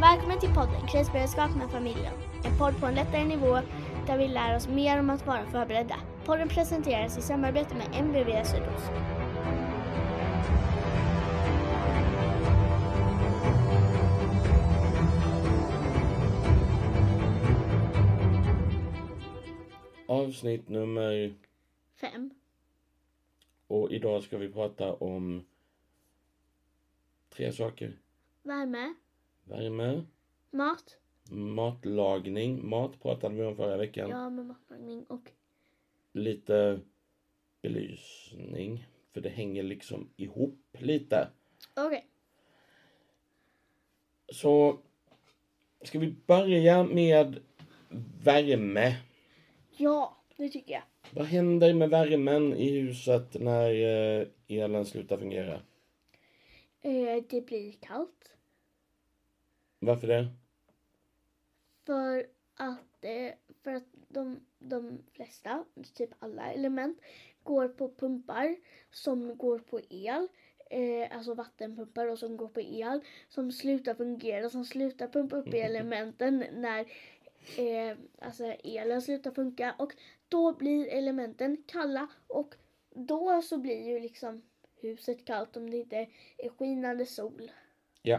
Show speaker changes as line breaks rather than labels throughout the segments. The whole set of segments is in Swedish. Välkommen till podden Krisberedskap med familjen. En podd på en lättare nivå där vi lär oss mer om att vara förberedda. Podden presenteras i samarbete med MVV Sydost.
Avsnitt nummer...
Fem.
Och idag ska vi prata om tre saker.
Värme,
Värme,
mat,
matlagning. Mat pratade vi om förra veckan.
ja med matlagning och
Lite belysning. För det hänger liksom ihop lite.
okej.
Så ska vi börja med värme.
Ja, det tycker jag.
Vad händer med värmen i huset när eh, elen slutar fungera?
Eh, det blir kallt
Varför det?
för att, eh, för att de, de flesta, typ alla element, går på pumpar som går på el. Eh, alltså vattenpumpar då, som går på el som slutar fungera, som slutar pumpa upp elementen när eh, alltså elen slutar funka och då blir elementen kalla och då så blir ju liksom huset kallt om det inte är skinande sol.
Ja.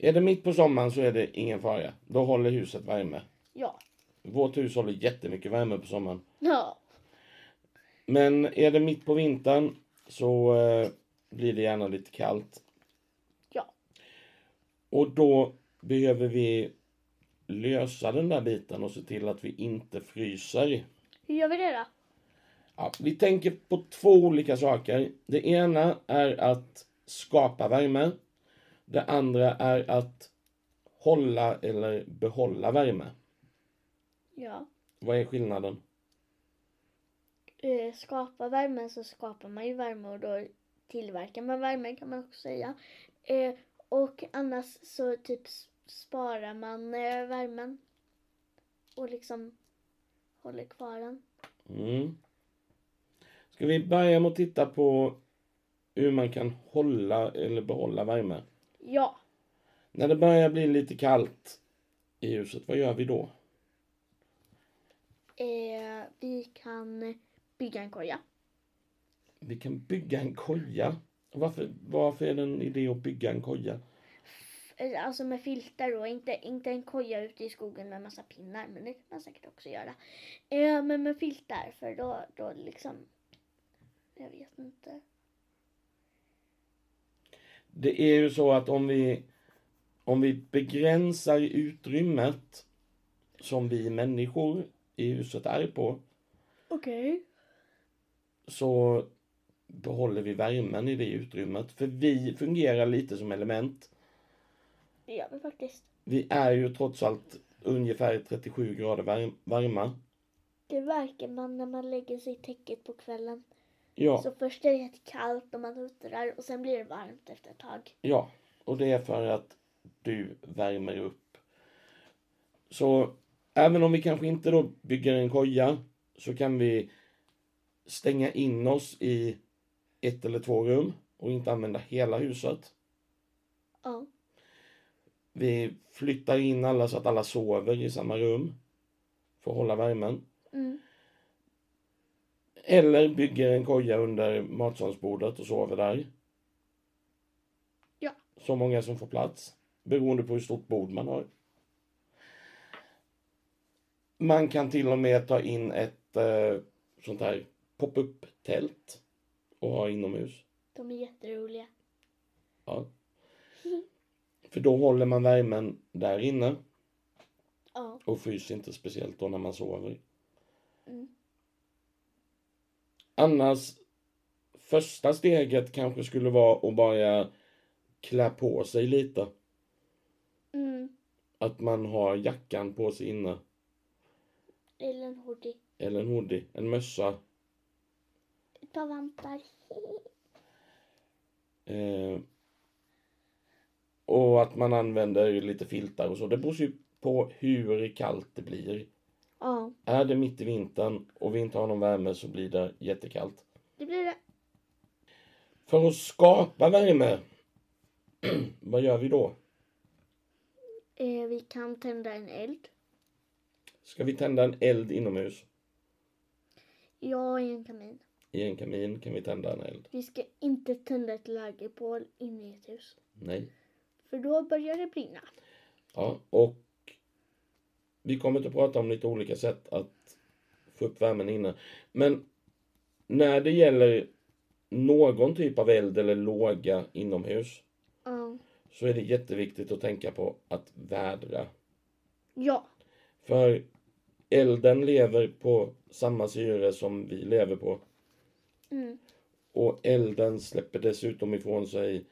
Är det mitt på sommaren så är det ingen fara. Då håller huset värme.
Ja.
Vårt hus håller jättemycket värme på sommaren.
Ja.
Men är det mitt på vintern så eh, blir det gärna lite kallt.
Ja.
Och då behöver vi lösa den där biten och se till att vi inte fryser.
Hur gör vi det då?
Ja, vi tänker på två olika saker. Det ena är att skapa värme. Det andra är att hålla eller behålla värme.
Ja.
Vad är skillnaden?
Eh, skapa värme så skapar man ju värme och då tillverkar man värme kan man också säga. Eh, och annars så typ s- sparar man eh, värmen och liksom håller kvar den.
Mm. Ska vi börja med att titta på hur man kan hålla eller behålla värme?
Ja,
När det börjar bli lite kallt i huset, vad gör vi då?
eh, vi kan bygga en koja.
Vi kan bygga en koja. Varför, varför är det en idé att bygga en koja?
Eh, Alltså med filtar då, inte, inte en koja ute i skogen med massa pinnar, men det kan man säkert också göra. Eh, men med filtar, för då, då liksom, jag vet inte.
Det är ju så att om vi, om vi begränsar utrymmet som vi människor i huset är på
Okej.
så behåller vi värmen i det utrymmet. För vi fungerar lite som element.
Det gör vi faktiskt.
Vi är ju trots allt ungefär 37 grader varm- varma.
Det märker man när man lägger sig i täcket på kvällen.
Ja,
Så först är det jättekallt och man huttrar och sen blir det varmt efter ett tag.
ja, och det är för att du värmer upp. Så även om vi kanske inte då bygger en koja så kan vi stänga in oss i ett eller två rum och inte använda hela huset.
Ja.
Vi flyttar in alla så att alla sover i samma rum för att hålla värmen.
Mm.
Eller bygger en koja under matsalsbordet och sover där.
Ja.
Så många som får plats. Beroende på hur stort bord man har. Man kan till och med ta in ett eh, sånt här pop-up tält och ha inomhus.
De är jätteroliga.
Ja. För då håller man värmen där inne
Ja.
och fryser inte speciellt då när man sover.
Mm.
Annars, första steget kanske skulle vara att bara klä på sig lite.
Mm.
Att man har jackan på sig inne,
Eller en hoodie.
eller en hoodie, en mössa.
Ett par vantar.
Eh, och att man använder lite filtar och så. Det beror ju på hur kallt det blir.
Ja.
Är det mitt i vintern och vi inte har någon värme så blir det jättekallt.
Det blir det.
För att skapa värme, vad gör vi då?
Eh, vi kan tända en eld.
Ska vi tända en eld inomhus?
Ja, i en kamin.
I en kamin kan vi tända en eld.
Vi ska inte tända ett lägerpål inne i ett hus.
Nej.
För då börjar det brinna.
Ja, och vi kommer att prata om lite olika sätt att få upp värmen inne. Men när det gäller någon typ av eld eller låga inomhus
Ja.
så är det jätteviktigt att tänka på att vädra.
Ja.
För elden lever på samma syre som vi lever på.
Mm.
Och elden släpper dessutom ifrån sig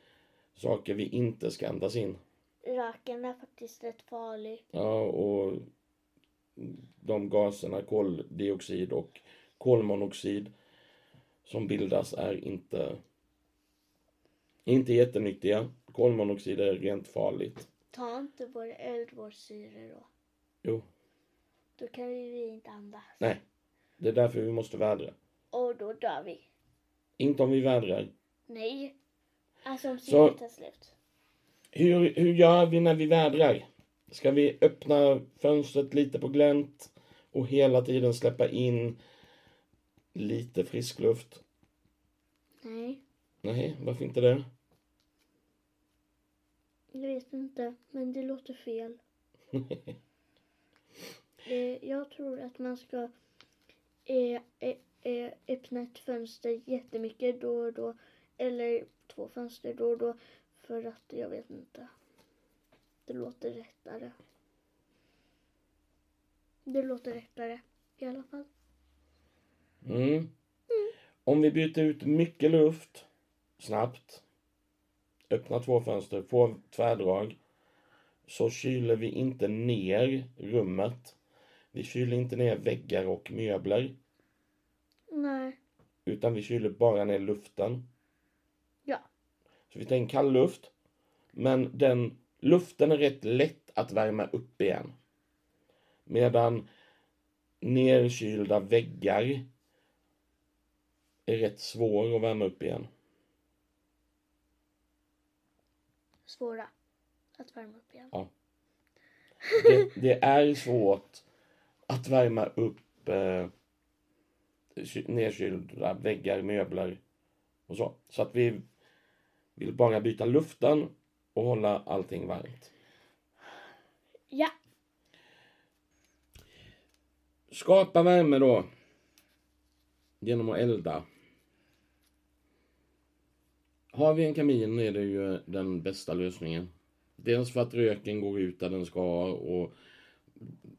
saker vi inte ska andas in.
Röken är faktiskt rätt farlig.
Ja, och de gaserna, koldioxid och kolmonoxid som bildas är inte, inte jättenyttiga. Kolmonoxid är rent farligt.
Ta inte vår eld, vår syre då.
Jo,
Då kan ju vi inte andas.
nej. Det är därför vi måste vädra.
Och då dör vi.
Inte om vi vädrar.
Nej. Alltså om
Så-
syret tar slut.
Hur, hur gör vi när vi vädrar? Ska vi öppna fönstret lite på glänt och hela tiden släppa in lite frisk luft?
Nej.
Nej, varför inte det?
Jag vet inte. Men det låter fel. eh, jag tror att man ska eh, eh, eh, öppna ett fönster jättemycket då och då. Eller två fönster då och då. För att jag vet inte. Det låter rättare. Det låter rättare i alla fall.
Mm. Om vi byter ut mycket luft snabbt, öppna två fönster, få tvärdrag, så kyler vi inte ner rummet. Vi kyler inte ner väggar och möbler,
Nej.
utan vi kyler bara ner luften.
Ja.
Så vi tar in kall luft, men den luften är rätt lätt att värma upp igen. Medan nerkylda väggar är rätt svår att värma upp igen.
Svåra att värma upp igen.
Det, det är svårt att värma upp eh, ky- nedkylda väggar, möbler och så. Så att vi vill bara byta luften och hålla allting varmt.
Ja.
Skapa värme då. Genom att elda. Har vi en kamin är det ju den bästa lösningen. Dels för att röken går ut där den ska och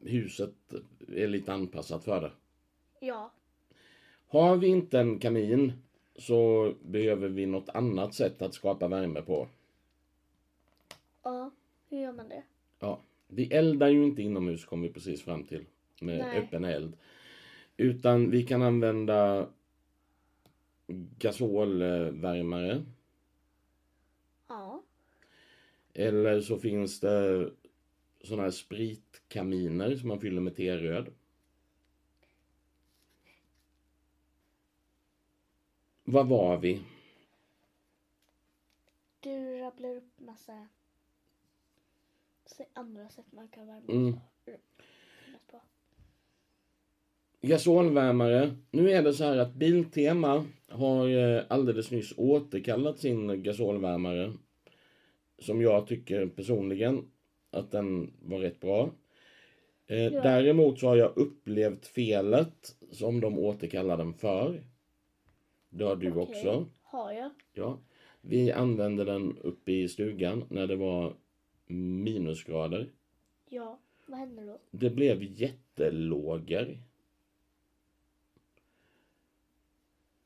huset är lite anpassat för det.
Ja.
Har vi inte en kamin så behöver vi något annat sätt att skapa värme på.
Ja. Hur gör man det?
Ja, vi eldar ju inte inomhus kom vi precis fram till med
Nej.
öppen eld. Utan vi kan använda gasolvärmare.
Ja.
Eller så finns det sådana här spritkaminer som man fyller med teröd. Vad var vi?
Du rabblar upp massa se- andra sätt man kan värma
Mm.
upp rummet på.
Gasolvärmare. Nu är det så här att Biltema har eh, alldeles nyss återkallat sin gasolvärmare. Som jag tycker personligen att den var rätt bra. Eh,
Ja.
Däremot så har jag upplevt felet som de återkallar den för. Det har du
Okej.
också.
Har jag?
Ja. Vi använde den uppe i stugan när det var minusgrader.
Ja. Vad händer då?
Det blev jättelågor.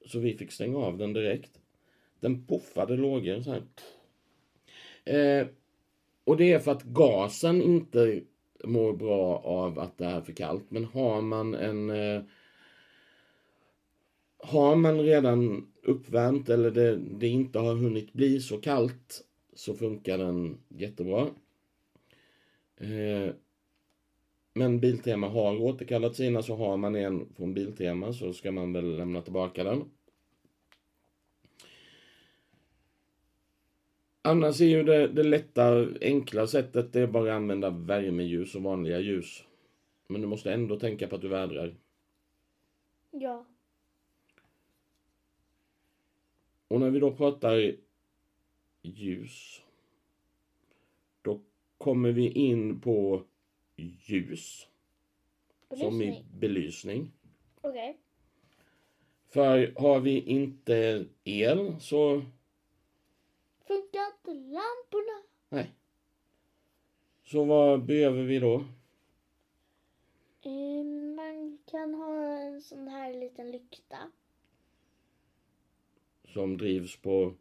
Så vi fick stänga av den direkt. Den puffade lågor så här. Eh, och det är för att gasen inte mår bra av att det är för kallt. Men har man en... Eh, har man redan uppvärmt eller det, det inte har hunnit bli så kallt så funkar den jättebra. Eh, men Biltema har återkallat sina så har man en från Biltema så ska man väl lämna tillbaka den. Annars är ju det, det lätta, enkla sättet det är bara att använda värmeljus och vanliga ljus. Men du måste ändå tänka på att du vädrar.
Ja.
Och när vi då pratar ljus. Då kommer vi in på ljus. Som i
Belysning.
belysning.
Okej.
För har vi inte el så
Funkar inte lamporna?
nej. Så vad behöver vi då?
Eh, man kan ha en sån här liten lykta.
Som drivs på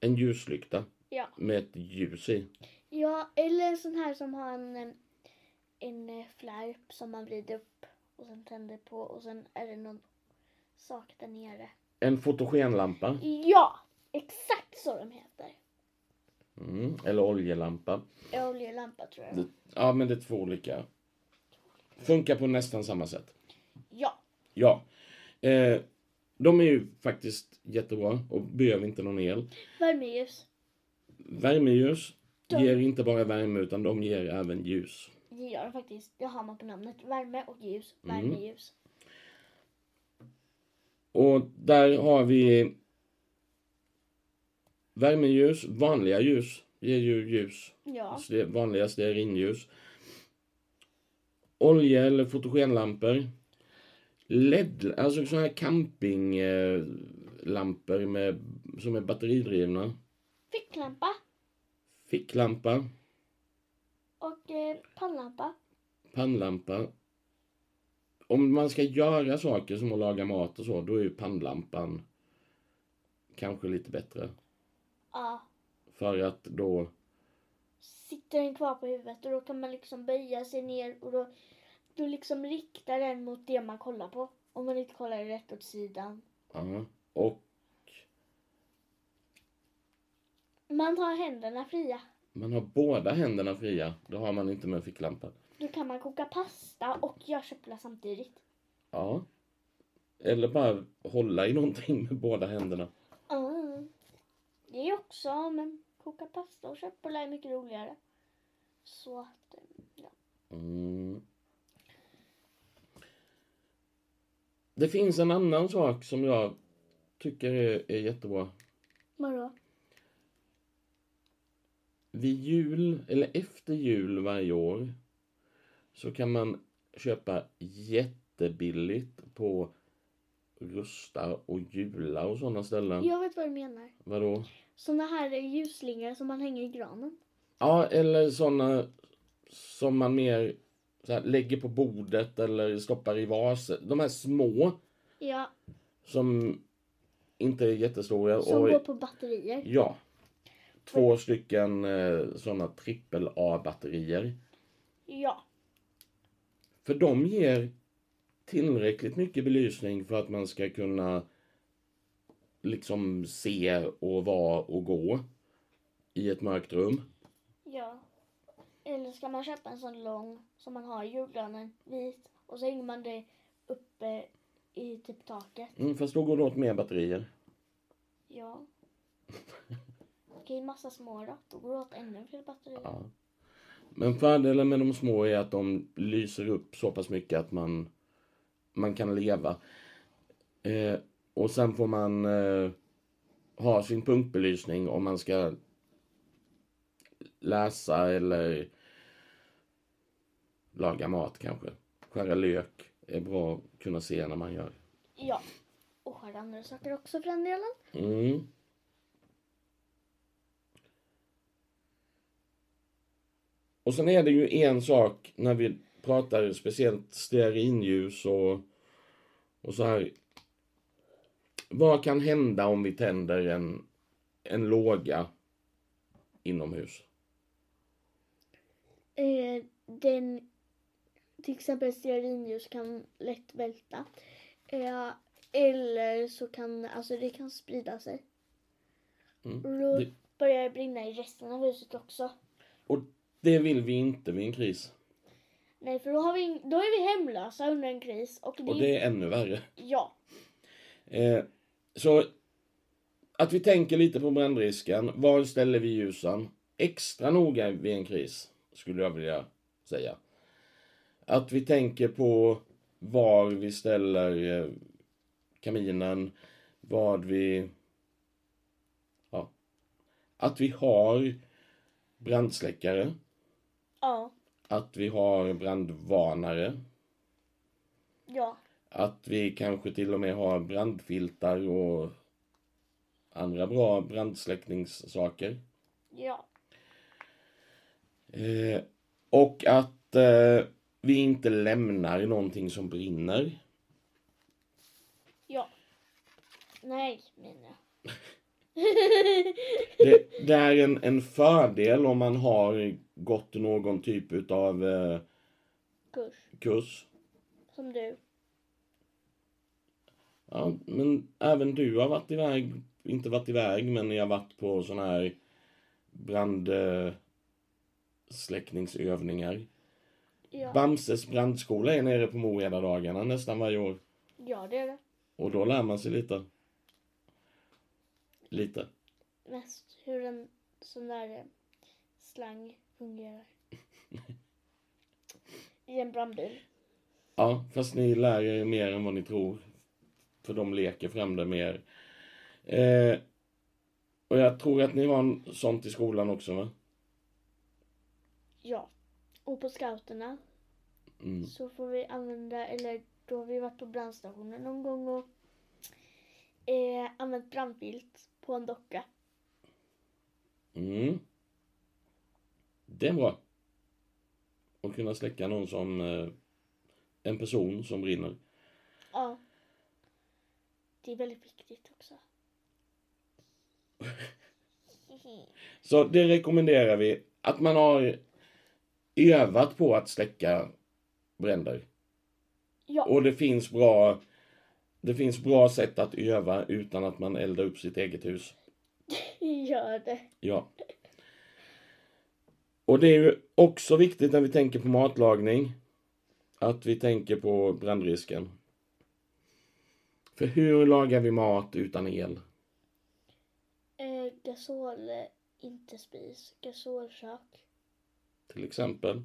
en ljuslykta
Ja.
med ett ljus i.
Ja, eller en sån här som har en, eh, en eh, flärp som man vrider upp och sen tänder på och sen är det någon sak där nere.
En fotogenlampa.
Ja, exakt så de heter.
Mm. Eller oljelampa.
Oljelampa tror jag.
Det- Ja, men det är två olika. Funkar på nästan samma sätt.
Ja.
Ja. Eh, de är ju faktiskt jättebra och behöver inte någon el.
Värmeljus.
Värmeljus
De-
ger inte bara värme utan de ger även ljus.
Det gör de faktiskt. Det har man på namnet. Värme och ljus.
Mm.
Värmeljus.
Och där har vi värmeljus, vanliga ljus ger ju ljus. alltså
Ja.
Ste- Vanliga stearinljus. Olja eller fotogenlampor. LED, alltså sådana här campinglampor med, som är batteridrivna.
Ficklampa
Ficklampa,
och eh, pannlampa.
pannlampa. Om man ska göra saker som att laga mat och så, då är ju pannlampan kanske lite bättre.
Ja.
För att då,
sitter den kvar på huvudet och då kan man liksom böja sig ner och då, då liksom riktar den mot det man kollar på. Om man inte kollar rätt åt sidan.
ja. Och
Man har händerna fria.
man har båda händerna fria. Det har man inte med ficklampan.
Då kan man koka pasta och göra köttbullar samtidigt.
Ja. Eller bara hålla i någonting med båda händerna.
Mm. Det är också, men koka pasta och köttbullar är mycket roligare. Så att, eh, ja.
Mm. Det finns en annan sak som jag tycker är, är jättebra.
Vadå?
Vid jul, eller efter jul varje år, så kan man köpa jättebilligt på Rusta och Jula och sådana ställen.
Jag vet vad du menar.
Vadå?
Såna här ljusslingor som man hänger i granen.
Ja, eller såna som man mer så här, lägger på bordet eller stoppar i vaser. De här små
Ja,
som inte är jättestora.
som
och,
går på batterier.
Ja. Två stycken eh, såna trippel A-batterier.
Ja.
För de ger tillräckligt mycket belysning för att man ska kunna liksom se och vara och gå i ett mörkt rum.
Ja. Eller ska man köpa en sån lång som man har i julgranen, vit, och så hänger man det uppe i typ taket.
Mm, fast då går det åt mer batterier.
Ja. Okej, massa små då. Då går det åt ännu fler batterier.
Ja. Men fördelen med de små är att de lyser upp så pass mycket att man, man kan leva. Eh, och sen får man eh, ha sin punktbelysning om man ska läsa eller laga mat kanske. Skära lök är bra att kunna se när man gör.
Ja. Och har andra saker också för den delen.
Mm. Och sen är det ju en sak när vi pratar speciellt stearinljus och, och så här. Vad kan hända om vi tänder en, en låga inomhus?
Eh, den, till exempel stearinljus kan lätt välta. Eh, eller så kan, alltså det kan sprida sig.
Mm.
Och då
Det-
börjar det brinna i resten av huset också.
Och det vill vi inte vid en kris.
Nej, för då, har vi, ing- då är vi hemlösa under en kris. Och det,
Och det är ännu värre.
Ja.
Eh, så Att vi tänker lite på brandrisken. Var ställer vi ljusen? Extra noga vid en kris, skulle jag vilja säga. Att vi tänker på var vi ställer eh, kaminen, vad vi... Ja. Att vi har brandsläckare,
Ja.
att vi har brandvarnare,
Ja.
att vi kanske till och med har brandfiltar och andra bra brandsläckningssaker.
Ja.
Eh, och att eh, vi inte lämnar någonting som brinner.
Ja. Nej, menar jag.
Det, det är en, en fördel om man har gått någon typ utav eh,
Kurs.
kurs.
Som du.
Ja, men även du har varit iväg, inte varit iväg, men jag har varit på sådana här eh, brandsläckningsövningar.
Ja.
Bamses brandskola är nere på Moreda-dagarna nästan varje år.
Ja, det är det.
Och då lär man sig lite. Lite.
Mest hur en sån där eh, slang fungerar. I en brandbil.
Ja, fast ni lär er mer än vad ni tror. För de leker fram det mer. Eh, och jag tror att ni har en sånt i skolan också va?
Ja. Och på scouterna
Mm.
så får vi använda, eller då har vi varit på brandstationen någon gång och eh, använt brandfilt på en docka.
Mm. Det är bra. Och kunna släcka någon som... Eh, en person som brinner.
Ja. Det är väldigt viktigt också.
Så det rekommenderar vi. Att man har övat på att släcka bränder.
Ja,
Och det finns bra det finns bra sätt att öva utan att man eldar upp sitt eget hus.
gör det.
Ja. Och det är ju också viktigt när vi tänker på matlagning att vi tänker på brandrisken. För hur lagar vi mat utan el?
Eh, gasol, eh, inte spis. Gasolkök.
Till exempel.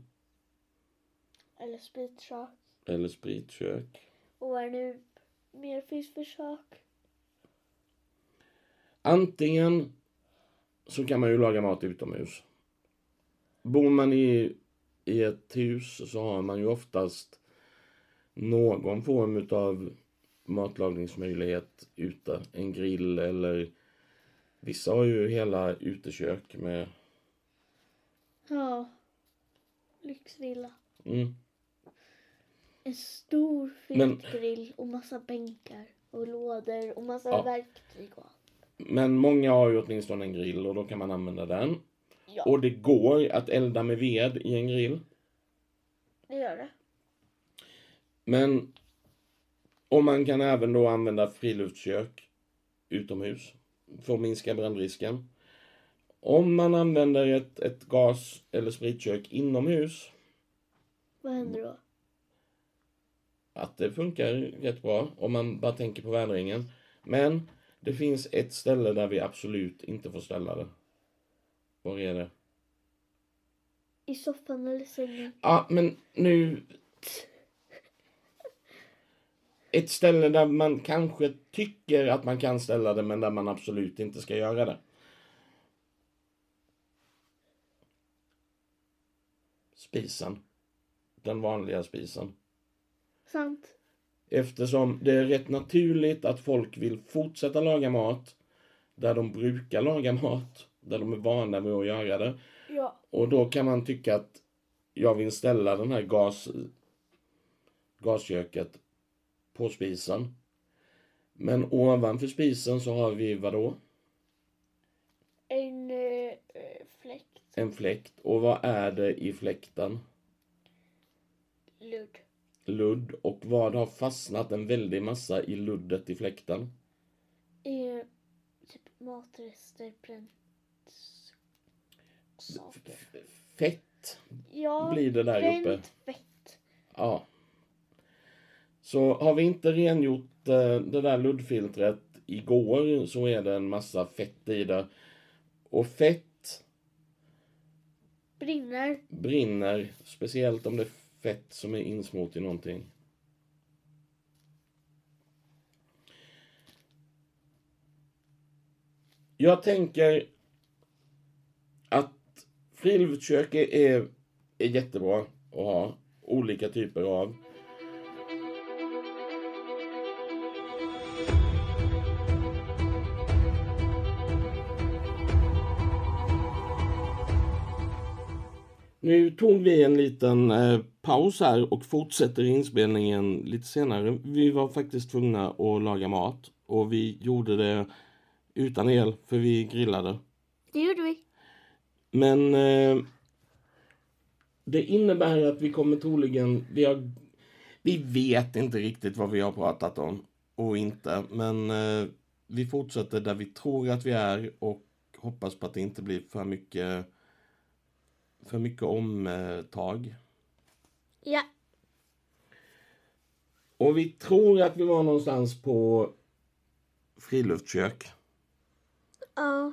Eller spritkök.
Eller spritkök.
Och vad det nu mer finns för kök.
Antingen så kan man ju laga mat utomhus. Bor man i, i ett hus så har man ju oftast någon form utav matlagningsmöjlighet ute. En grill eller vissa har ju hela utekök med
Ja. Lyxvilla.
mm,
En stor fet
Men-
grill och massa bänkar och lådor och massa
Ja.
verktyg. Och...
Men många har ju åtminstone en grill och då kan man använda den.
Ja,
Och det går att elda med ved i en grill.
det gör det.
Men om man kan även då använda friluftskök utomhus för att minska brandrisken. Om man använder ett, ett gas eller spritkök inomhus,
Vad händer då?
att det funkar rätt bra om man bara tänker på vädringen. Men det finns ett ställe där vi absolut inte får ställa det. Var är det?
I soffan eller sängen?
Ja, men nu... Ett ställe där man kanske tycker att man kan ställa det men där man absolut inte ska göra det. Spisen. Den vanliga spisen.
Sant.
Eftersom det är rätt naturligt att folk vill fortsätta laga mat där de brukar laga mat, där de är vana vid att göra det.
Ja.
Och då kan man tycka att jag vill ställa den här gas, gasköket på spisen. Men ovanför spisen så har vi vadå?
En eh, eh, fläkt.
En fläkt. Och vad är det i fläkten?
Ludd.
Ludd. Och vad har fastnat en väldig massa i luddet i fläkten?
Eh, typ matrester, bränt s- saker.
Fett
Ja,
blir det där uppe.
bränt fett.
Ja. Så har vi inte rengjort eh, det där luddfiltret igår så är det en massa fett i det. Och fett
Brinner.
brinner, speciellt om det är fett som är insmort i någonting. Jag tänker att friluftkök är, är jättebra att ha olika typer av. Nu tog vi en liten eh, paus här och fortsätter inspelningen lite senare. Vi var faktiskt tvungna att laga mat och vi gjorde det utan el för vi grillade.
Det gjorde vi.
Men eh, det innebär att vi kommer troligen... Vi, har, vi vet inte riktigt vad vi har pratat om och inte, men eh, vi fortsätter där vi tror att vi är och hoppas på att det inte blir för mycket för mycket omtag.
Ja.
Och vi tror att vi var någonstans på friluftskök.
Ja.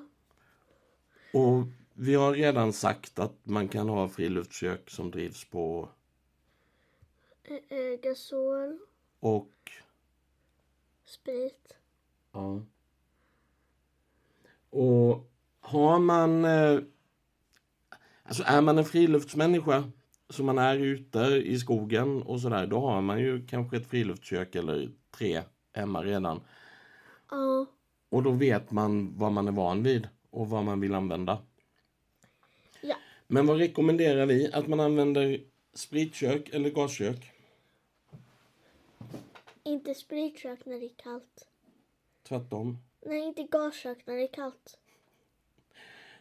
Och vi har redan sagt att man kan ha friluftskök som drivs på
Eh, eh, gasol.
och
Sprit.
Ja. Och har man... eh, Alltså är man en friluftsmänniska, så man är ute i skogen och sådär, då har man ju kanske ett friluftskök eller tre hemma redan.
Ja.
Och då vet man vad man är van vid och vad man vill använda.
Ja.
Men vad rekommenderar vi? Att man använder spritkök eller gaskök?
Inte spritkök när det är kallt.
Tvärtom.
Nej, inte gaskök när det är kallt.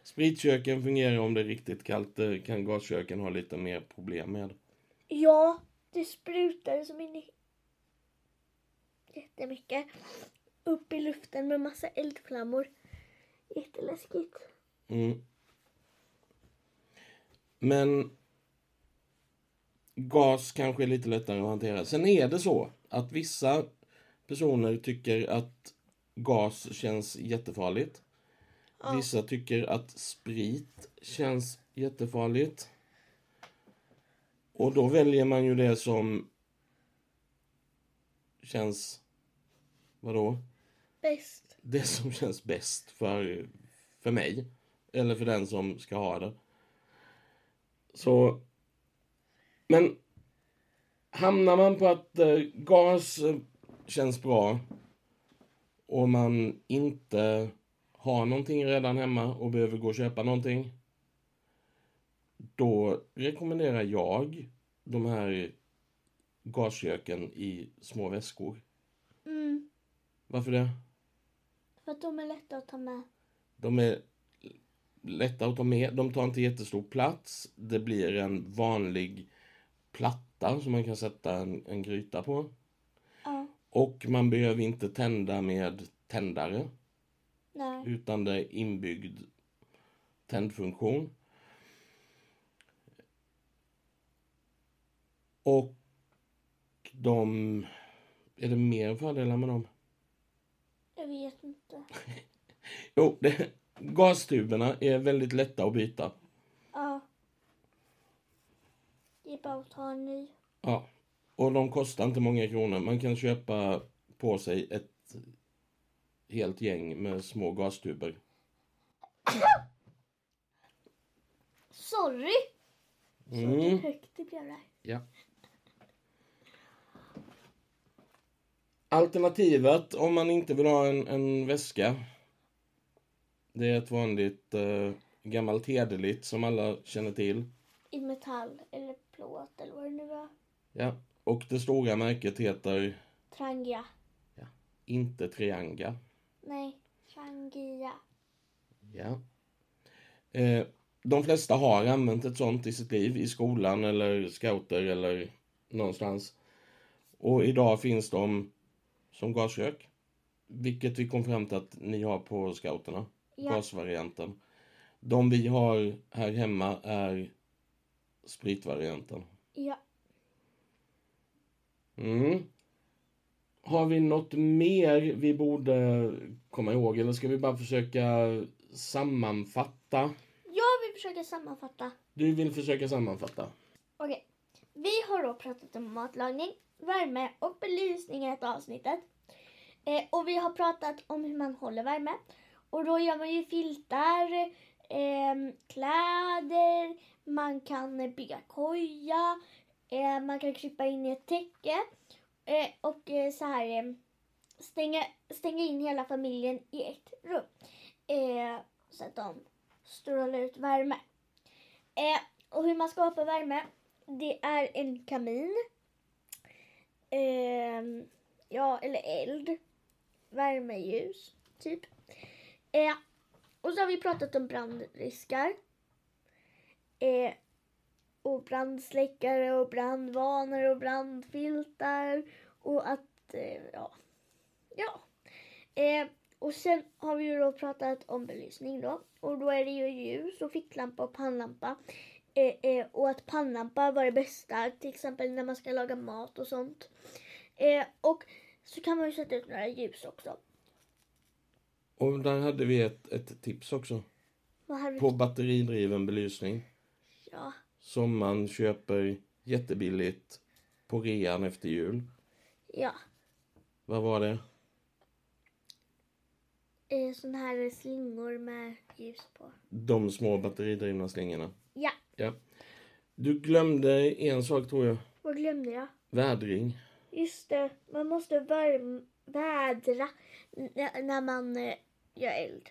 Spritköken fungerar om det är riktigt kallt. Det kan gasköken ha lite mer problem med.
Ja, det sprutar som in i jättemycket. Upp i luften med massa eldflammor. Jätteläskigt.
Mm. Men gas kanske är lite lättare att hantera. Sen är det så att vissa personer tycker att gas känns jättefarligt. Vissa tycker att sprit känns jättefarligt. Och då väljer man ju det som känns... Vadå?
Bäst.
det som känns bäst för, för mig. Eller för den som ska ha det. Så... Men hamnar man på att eh, gas eh, känns bra och man inte har någonting redan hemma och behöver gå och köpa någonting. Då rekommenderar jag de här gasköken i små väskor.
Mm.
Varför det?
För att de är lätta att ta med.
De är lätta att ta med. De tar inte jättestor plats. Det blir en vanlig platta som man kan sätta en, en gryta på.
Ja.
Och man behöver inte tända med tändare
Nej.
utan det är inbyggd tändfunktion. Och de... Är det mer fördelar med dem?
Jag vet inte.
Jo, det, gastuberna är väldigt lätta att byta.
Ja. Det är bara att ta en ny.
Ja, och de kostar inte många kronor. Man kan köpa på sig ett helt gäng med små gastuber.
Sorry!
Mm.
Högt det blev där.
Ja. Alternativet om man inte vill ha en, en väska. Det är ett vanligt eh, gammalt hederligt som alla känner till.
I metall eller plåt eller vad det nu var.
Ja. Och det stora märket heter
Trangia.
inte Trianga.
Nej, Trangia.
Ja. Eh, de flesta har använt ett sånt i sitt liv, i skolan eller scouter eller någonstans. Och idag finns de som gaskök. Vilket vi kom fram till att ni har på scouterna,
Ja.
gasvarianten. De vi har här hemma är spritvarianten.
ja.
Mm. Har vi något mer vi borde komma ihåg eller ska vi bara försöka sammanfatta?
Jag vill försöka sammanfatta.
Du vill försöka sammanfatta.
Okej. Vi har då pratat om matlagning, värme och belysning i ett avsnittet. Eh, och vi har pratat om hur man håller värme. Och då gör man ju filtar, ehm, kläder, man kan eh, bygga koja, eh, man kan krypa in i ett täcke eh, och eh, så här eh, stänga, stänga in hela familjen i ett rum. Eh, så att de strålar ut värme. Eh, och hur man skapar värme, det är en kamin. Ehm, ja, eller eld. Värmeljus, typ. Eh, och så har vi pratat om brandriskar. Eh, och brandsläckare och brandvarnare och brandfiltar. Och att, eh, ja. Ja. Eh, och sen har vi ju då pratat om belysning då. Och då är det ju ljus och ficklampa och pannlampa. Eh, eh, och att pannlampa var det bästa, till exempel när man ska laga mat och sånt. Eh, och så kan man ju sätta ut några ljus också.
Och där hade vi ett, ett tips också.
Vad har vi?
På batteridriven belysning.
Ja,
Som man köper jättebilligt på rean efter jul.
ja.
Vad var det?
Eh, såna här slingor med ljus på.
De små batteridrivna slingorna.
Ja,
Ja. Du glömde en sak tror jag.
vad glömde jag?
Vädring.
Just det, man måste värm- vädra n- när man eh, gör eld.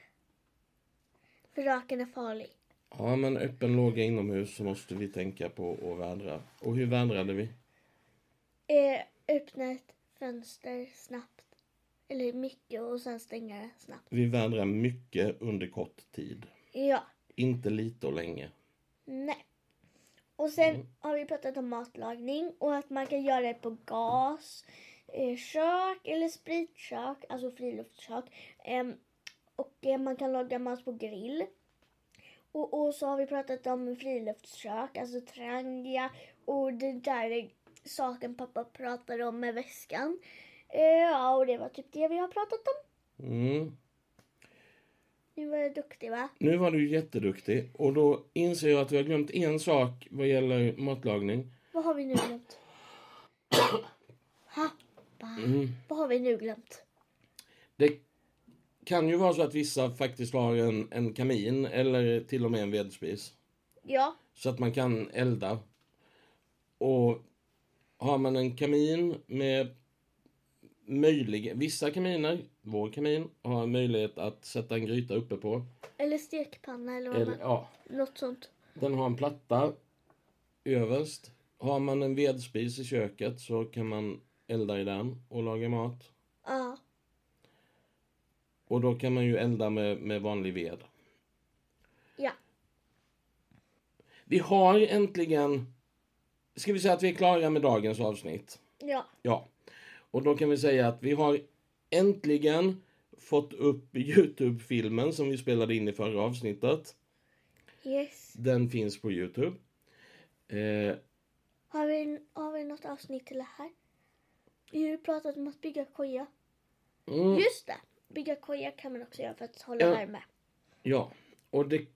För röken är farlig.
Ja, men öppen låga inomhus så måste vi tänka på att vädra. Och hur vädrade vi?
Eh, öppna ett fönster snabbt. Eller mycket och sen stänga det snabbt.
Vi vädrar mycket under kort tid.
Ja,
Inte lite och länge.
nej. Och sen har vi pratat om matlagning och att man kan göra det på gas, eh, kök eller spritkök, alltså friluftskök. Ehm, och eh, man kan laga mat på grill. Och, och så har vi pratat om friluftskök, alltså trangia och det där är saken pappa pratade om med väskan. Eh, ja, och det var typ det vi har pratat om.
Mm.
Nu var jag duktig va?
Nu var du jätteduktig och då inser jag att vi har glömt en sak vad gäller matlagning.
Vad har vi nu glömt? Ha? Va? Vad har vi nu glömt?
Det kan ju vara så att vissa faktiskt har en, en kamin eller till och med en vedspis.
Ja,
Så att man kan elda. Och har man en kamin med möjlig... Vissa kaminer, vår kamin, har en möjlighet att sätta en gryta uppe på.
eller stekpanna eller, vad
Eller,
man,
ja,
något sånt.
den har en platta överst. Har man en vedspis i köket så kan man elda i den och laga mat.
Ja,
Och då kan man ju elda med, med vanlig ved.
ja,
Vi har äntligen... Ska vi säga att vi är klara med dagens avsnitt?
ja,
Ja, och då kan vi säga att vi har äntligen fått upp Youtube-filmen som vi spelade in i förra avsnittet.
yes.
Den finns på Youtube. Eh,
Har vi, har vi något avsnitt till det här? Vi har ju pratat om att bygga koja.
mm,
Just det! Bygga koja kan man också göra för att hålla
Ja.
värme.
ja, och det...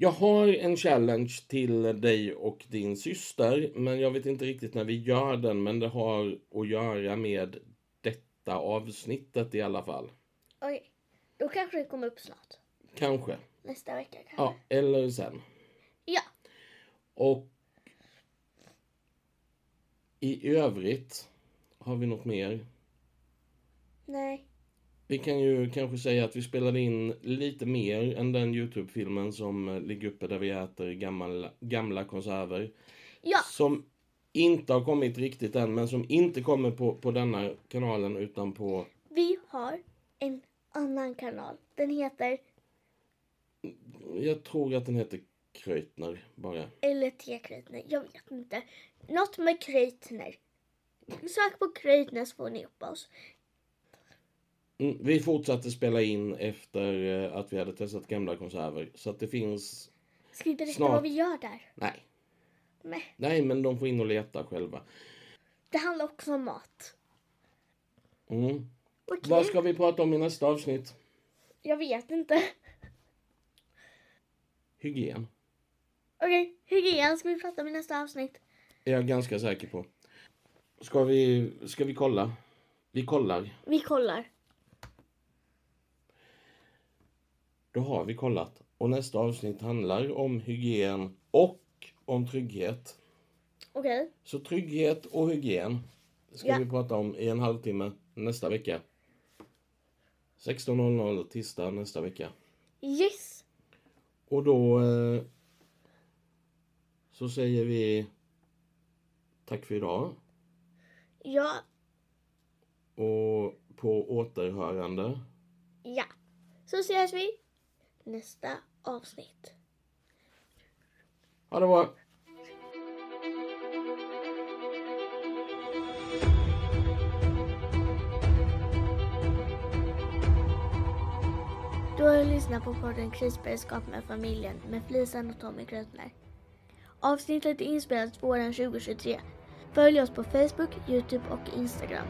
Jag har en challenge till dig och din syster, men jag vet inte riktigt när vi gör den, men det har att göra med detta avsnittet i alla fall.
Okej, då kanske det kommer upp snart.
Kanske.
Nästa vecka kanske.
Ja, eller sen.
ja.
Och i övrigt, har vi något mer?
Nej.
Vi kan ju kanske säga att vi spelade in lite mer än den Youtube-filmen som eh, ligger uppe där vi äter gamla, gamla konserver.
Ja,
Som inte har kommit riktigt än, men som inte kommer på, på denna kanalen utan på...
vi har en annan kanal. Den heter
Jag tror att den heter Kreutner bara.
Eller tekrytner, jag vet inte. Något med krytner. Sök på krytner så får ni upp oss.
Mm, Vi fortsatte spela in efter eh, att vi hade testat gamla konserver. Så att det finns...
Ska vi berätta
Snart.
vad vi gör där?
Nej.
Nej.
Nej, men de får in och leta själva.
Det handlar också om mat.
Mm.
Okej.
Vad ska vi prata om i nästa avsnitt?
Jag vet inte.
Hygien.
Okej, hygien ska vi prata om i nästa avsnitt.
Är jag ganska säker på. Ska vi, ska vi kolla? Vi kollar.
Vi kollar.
Då har vi kollat. Och nästa avsnitt handlar om hygien och om trygghet.
Okej.
Så trygghet och hygien ska
Ja.
vi prata om i en halvtimme nästa vecka. 16.00 tisdag nästa vecka.
Yes!
Och då eh, så säger vi tack för idag
Ja.
och på återhörande.
Ja. Så ses vi nästa avsnitt.
Ha det bra!
Du har ju lyssnat på podden Krisberedskap med familjen med Flisan och Tommy Krötner. Avsnittet är inspelat våren 2023. Följ oss på Facebook, Youtube och Instagram.